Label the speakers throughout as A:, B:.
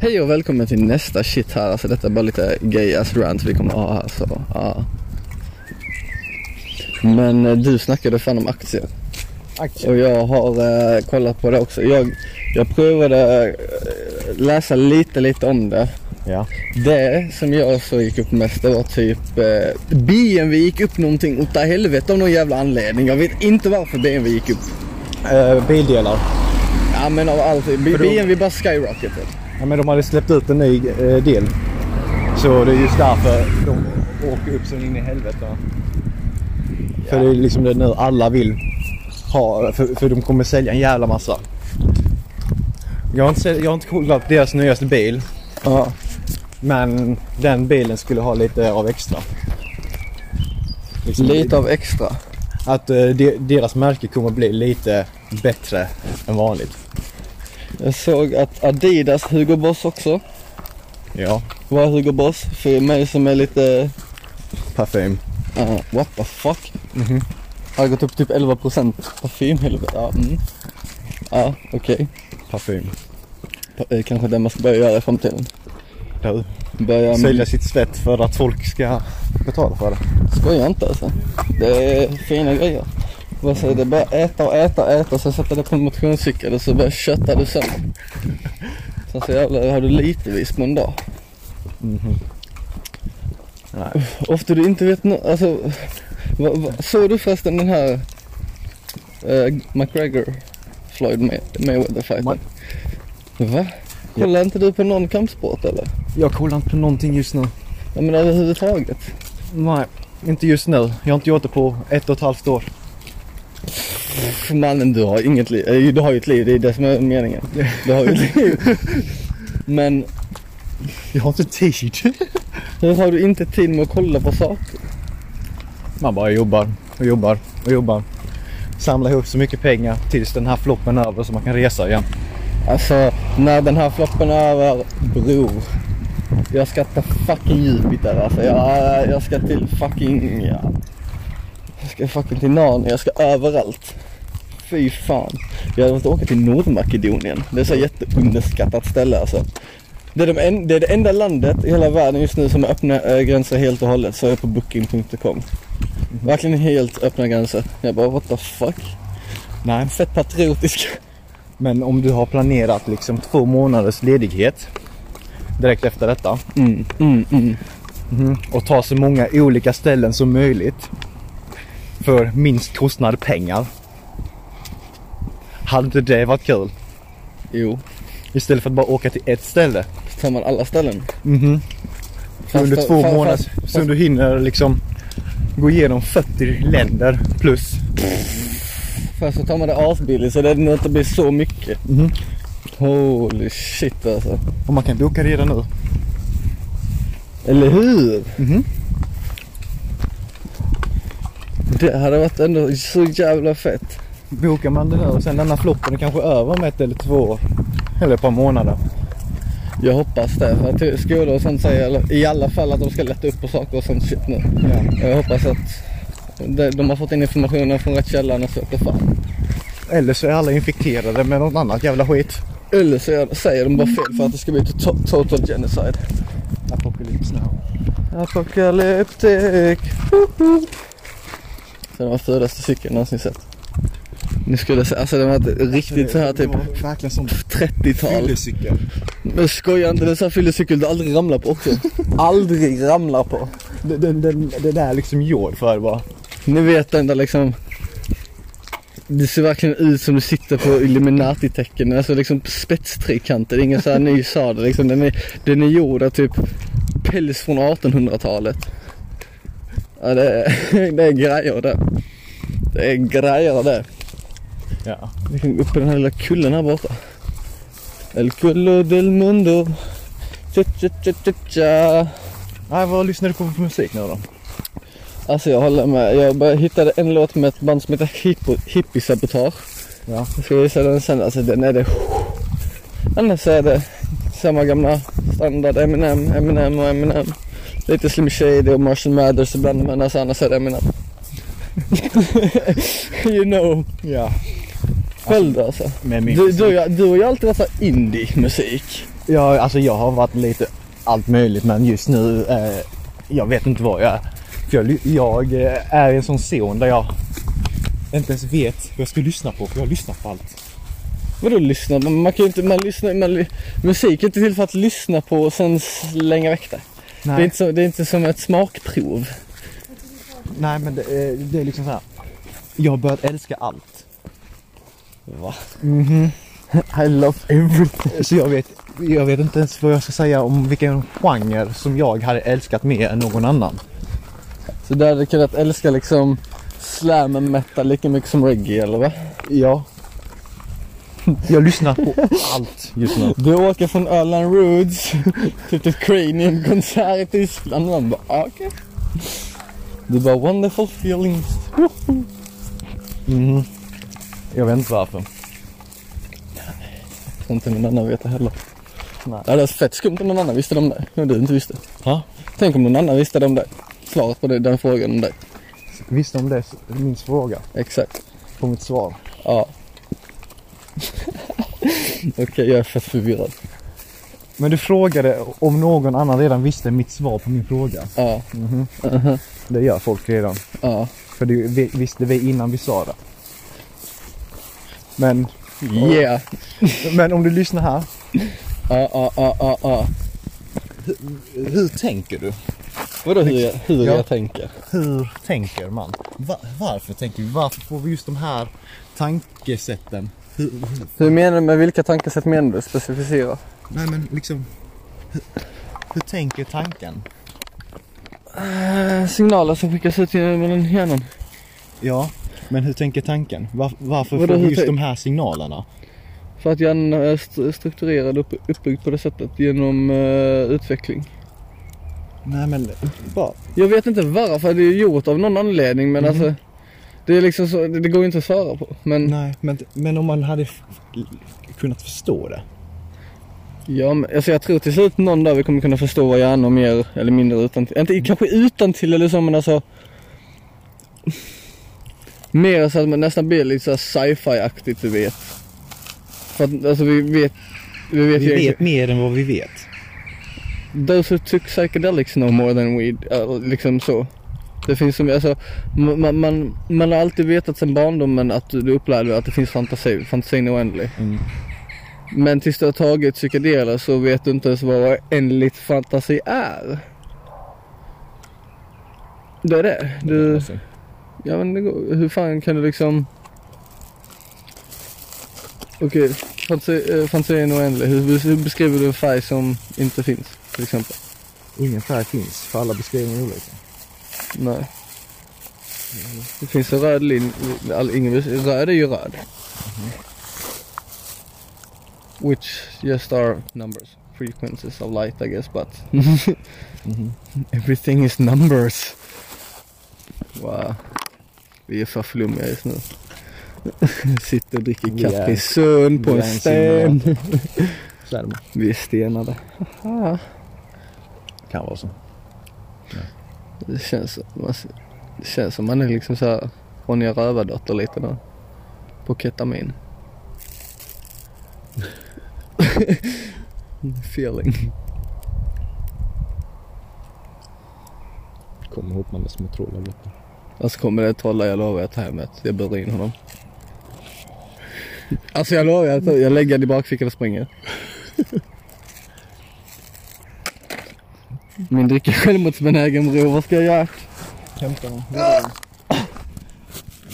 A: Hej och välkommen till nästa shit här. Alltså detta är bara lite gay ass rant vi kommer ha här så, ja. Men eh, du snackade fan om aktier.
B: Aktier.
A: Och jag har eh, kollat på det också. Jag, jag provade eh, läsa lite, lite om det.
B: Ja.
A: Det som jag så gick upp mest det var typ eh, BMW gick upp någonting åt helvete av någon jävla anledning. Jag vet inte varför BMW gick upp.
B: Eh, bildelar.
A: Ja men av allt. B-
B: då-
A: BMW bara skyrocketed.
B: Ja, men de hade släppt ut en ny eh, del. Så det är just därför de åker upp så in i helvete. För det är liksom det nu alla vill ha. För, för de kommer sälja en jävla massa. Jag har inte, sett- jag har inte kollat deras nyaste bil.
A: Ja.
B: Men den bilen skulle ha lite av extra. Liksom-
A: Lite av extra.
B: Att eh, de, deras märke kommer bli lite bättre än vanligt.
A: Jag såg att Adidas Hugo Boss också
B: Ja.
A: var Hugo Boss. För mig som är lite...
B: Parfym.
A: ja, what the fuck? Har gått upp typ 11% parfymhelvete. Ja, mm. ja okej.
B: Parfym.
A: Pa- eh, Kanske det man ska börja göra i framtiden.
B: Du.
A: Börja med...
B: Sälja sitt svett för att folk ska betala för det.
A: Skoja inte alltså. Det är fina grejer. Vad säger du? Bara äta och äta och äta och sen sätta det på en motionscykel och så bara köttar du sönder. Sen så jävlar har du litevis på en dag.
B: Mm-hmm. Nej.
A: Ofta du inte vet något, alltså. vad- vad- såg du förresten den här eh, McGregor Floyd May- Mayweather-fighten? Va? Kollar inte du på någon kampsport eller?
B: Jag kollar inte på någonting just nu.
A: Ja men överhuvudtaget.
B: Nej, inte just nu. Jag har inte gjort det på ett och ett halvt år.
A: Pff, Mannen du har inget liv, Eh, du har ju ett liv, det är det som är meningen. Du har ju ett liv. Men
B: Jag har inte tid.
A: hur har du inte tid med att kolla på saker?
B: Man bara jobbar och jobbar och jobbar. Samlar ihop så mycket pengar tills den här floppen är över så man kan resa igen.
A: Alltså när den här floppen är över, bror. Jag ska ta fucking Jupiter alltså. Jag, jag ska till fucking, ja. Jag ska fucking till Narnia, jag ska överallt. Fy fan. Jag måste åka till Nordmakedonien. Det är så jätteunderskattat ställe alltså. Det är, de en, det är det enda landet i hela världen just nu som öppnar äh, gränser helt och hållet. Så jag är på booking.com. Verkligen helt öppna gränser. Jag bara what the fuck.
B: Nej.
A: Fett patriotisk.
B: Men om du har planerat liksom två månaders ledighet direkt efter detta
A: Mm, mm, mm.
B: och ta så många olika ställen som möjligt för minst kostnad pengar. Hade inte det varit kul?
A: Jo.
B: Istället för att bara åka till ett ställe.
A: Så tar man alla ställen.
B: Mhm. Så
A: Fast
B: under
A: då-
B: två
A: fast-
B: månader
A: fast-
B: så du hinner liksom gå igenom 40 länder plus.
A: Fast så tar man det asbilligt så det är nog inte blir så mycket.
B: Mhm.
A: Holy shit alltså.
B: Och man kan boka redan nu.
A: Eller hur?
B: Mhm.
A: Det hade varit ändå så jävla fett.
B: Bokar man det nu och sen denna floppen är kanske över om ett eller två år. Eller ett par månader.
A: Jag hoppas det. För att skolor och sånt säger i alla- i alla fall att de ska lätta upp på saker och sånt shit nu. Jag hoppas att de- de har fått in informationen från rätt källa annars vete fan.
B: Eller så är alla infekterade med något annat jävla skit.
A: Eller så gör- säger de bara fel för att det ska bli to- total genocide.
B: Apocalypse now.
A: Apokalyptik. Så den var fulaste cykeln någonsin sett. Nu skulle jag säga, alltså den var ett riktigt så här typ
B: Verkligen som
A: 30-tal.
B: fyllecykel.
A: Men skoja inte, det är en sån här fyllecykel du aldrig ramlar på också. Aldrig ramlar på.
B: Den, den, den, den är liksom gjord för bara.
A: Ni vet den där liksom. Det ser verkligen ut som du sitter på Illuminati-tecken. Alltså liksom spetstrekanter. Det är ingen så här ny sadel liksom. Den är, den är gjord av typ päls från 1800-talet. Ja, det, är, det är grejer det. Det är grejer det.
B: Ja.
A: Vi kan gå upp på den här lilla kullen här borta. El cullo del mundo. Cha, cha, cha, cha, cha.
B: Nej, vad lyssnar du på för musik nu då?
A: Alltså jag håller med. Jag bara hittade en låt med ett band som heter Hippo, Hippiesabotage.
B: Ja.
A: Jag ska visa den sen. Alltså den är det. Annars är det samma gamla standard Eminem, Eminem och Eminem. Lite Slim Shady och Marshall Mathers ibland men alltså annars är det Eminem. you know.
B: Ja.
A: Själv då, alltså.
B: Med min
A: Du, du, och jag, du och jag har alltid varit så här indie-musik.
B: Ja, alltså jag har varit lite allt möjligt men just nu, eh, jag vet inte vad jag är. För jag, ly- jag eh, är i en sån zon där jag inte ens vet vad jag ska lyssna på för jag har lyssnat på allt.
A: Vadå lyssna? Man man kan ju inte, man lyssnar, man, ly- musik är inte till för att lyssna på och sen slänga väck det. Det är, inte som, det är inte som ett smakprov.
B: Nej men det, eh, det är liksom så här. Jag har börjat älska allt.
A: Va?
B: I love everything. Så jag vet, jag vet inte ens vad jag ska säga om vilken genre som jag hade älskat mer än någon annan.
A: Så du hade kunnat älska liksom slam and metal lika mycket som reggae eller va?
B: Ja. Jag lyssnar på allt just nu.
A: Du åker från Öland Roods typ till Crane i en konsert i Tyskland och man bara ah, okej. Du bara wonderful feelings.
B: Mhm. Jag vet inte varför.
A: Jag tror inte någon annan vet det heller.
B: Nej.
A: Det hade varit fett skumt om någon annan visste om det. När du inte visste.
B: Ha?
A: Tänk om någon annan visste det om dig. Svaret på det, den frågan om dig.
B: Visste om det är min fråga
A: Exakt.
B: på mitt svar.
A: Ja. Okej, jag är fett förvirrad.
B: Men du frågade om någon annan redan visste mitt svar på min fråga.
A: Ja,
B: Det gör folk redan.
A: ja.
B: För det vi- visste vi innan vi sa det. Men,
A: Yeah.
B: men om du lyssnar här.
A: Ja, ja, ja, ja, ja.
B: Hur tänker du?
A: Vadå hur jag, hur
B: Ja.
A: jag tänker?
B: Hur tänker man? Va- varför tänker vi? Varför får vi just de här tankesätten? Hur, hur-
A: Hur menar du med vilka tankesätt menar du? Specificera.
B: nej men liksom, hur- hur tänker tanken?
A: Eh, signaler som skickas ut genom hjärnan.
B: Ja, men hur tänker tanken? Var, varför
A: Vadå,
B: får vi
A: hur
B: just
A: tänk-
B: de här signalerna?
A: För att hjärnan är st- strukturerad och upp, uppbyggd på det sättet genom eh, utveckling.
B: Nej men, bara,
A: Jag vet inte varför, det är gjort av någon anledning men alltså. Det är liksom så, det, det går ju inte att svara på. Men
B: nej, men, men om man hade f- kunnat förstå det.
A: ja, men, alltså jag tror till slut någon dag vi kommer kunna förstå våra hjärnor mer eller mindre utan till. Inte, kanske utan till eller så men alltså. Mer så att man nästan blir lite så här sci-fi-aktigt du vet. För att alltså vi vet. Vi vet,
B: Vi
A: ju
B: vet mer än vad vi vet.
A: Those who took psychedelics know more than weed. Ja, liksom så. Det finns som, alltså, man, man, man har alltid vetat sedan barndomen att du, du upplärde att det finns fantasi, fantasin är oändlig.
B: Mm.
A: Men tills du har tagit psykedeler så vet du inte ens vad oändligt fantasi är. Det är det.
B: Mm.
A: Du, ja men det går, hur fan kan du liksom... Okej, fantasi, eh, fantasin är oändlig. Hur, hur beskriver du en färg som inte finns? Till exempel.
B: Ingen färg finns, för alla beskrivningar är olika.
A: Nej. Det finns en röd linje. all- Ingen, vis- röd är ju röd.
B: Mhm.
A: Which just are numbers. Frequencies of light I guess but Mm. everything is numbers. Wow. Vi är för flummiga just nu. Sitter och dricker
B: Vi är-
A: kaffe i sund på
B: vi
A: en
B: är en
A: sten.
B: Så är det bara.
A: Vi är stenade. Haha.
B: Kan vara så.
A: Det känns, man, det känns som man är liksom så här Ronja Rövardotter lite nu. På ketamin. Feeling.
B: Kommer ihop med små trollar borta.
A: Alltså kommer det trolla, jag lovar jag tar hem ett. Jag burar in honom. Alltså jag lovar, jag, tar, jag lägger det i bakfickan och springer. Min dryck är självmordsbenägen bror, vad ska jag göra?
B: Hämta dem. Det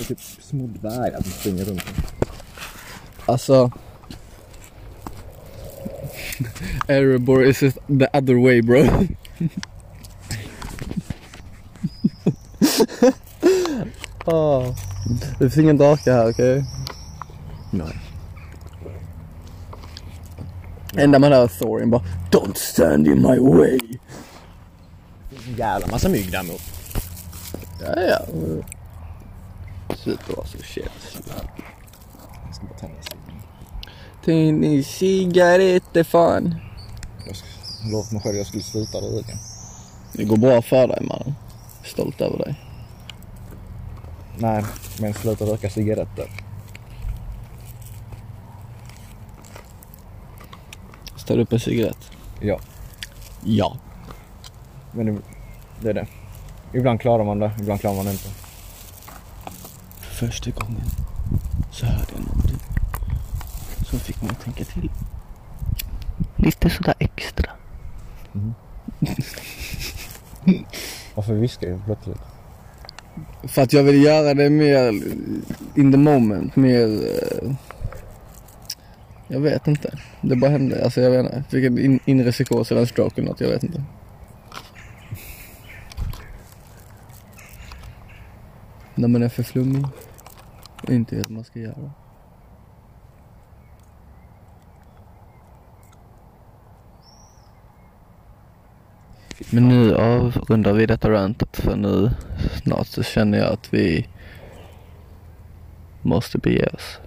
B: är typ små dvärgar som springer runt.
A: Alltså... Erebor is just the other way bro. oh. Det finns ingen drake här okej?
B: Nej.
A: Enda man hör är Thorin bara Don't stand in my way.
B: Jävla massa mygg däremot.
A: Ja ja. Sluta vara så tjejig.
B: Jag ska bara tända stigen.
A: Tänk cigaretter fan.
B: Jag ska- jag lovade mig själv att jag skulle sluta röka.
A: Det går bra för dig mannen. Stolt över dig.
B: Nej, men sluta röka cigaretter.
A: Tar du upp en cigarett?
B: Ja.
A: Ja.
B: Men det, det är det. Ibland klarar man det, ibland klarar man det inte.
A: För första gången så hörde jag någonting som fick mig att tänka till. Lite sådär extra.
B: Varför viskar jag plötsligt?
A: För att jag vill göra det mer in the moment, mer... eh, Jag vet inte. Det bara hände. Alltså jag vet inte. Fick en in, inre psykos eller en stroke eller något. Jag vet inte. När man är för flummig och inte vet vad man ska göra. Men nu avrundar vi detta rantet för nu snart så känner jag att vi måste bege oss.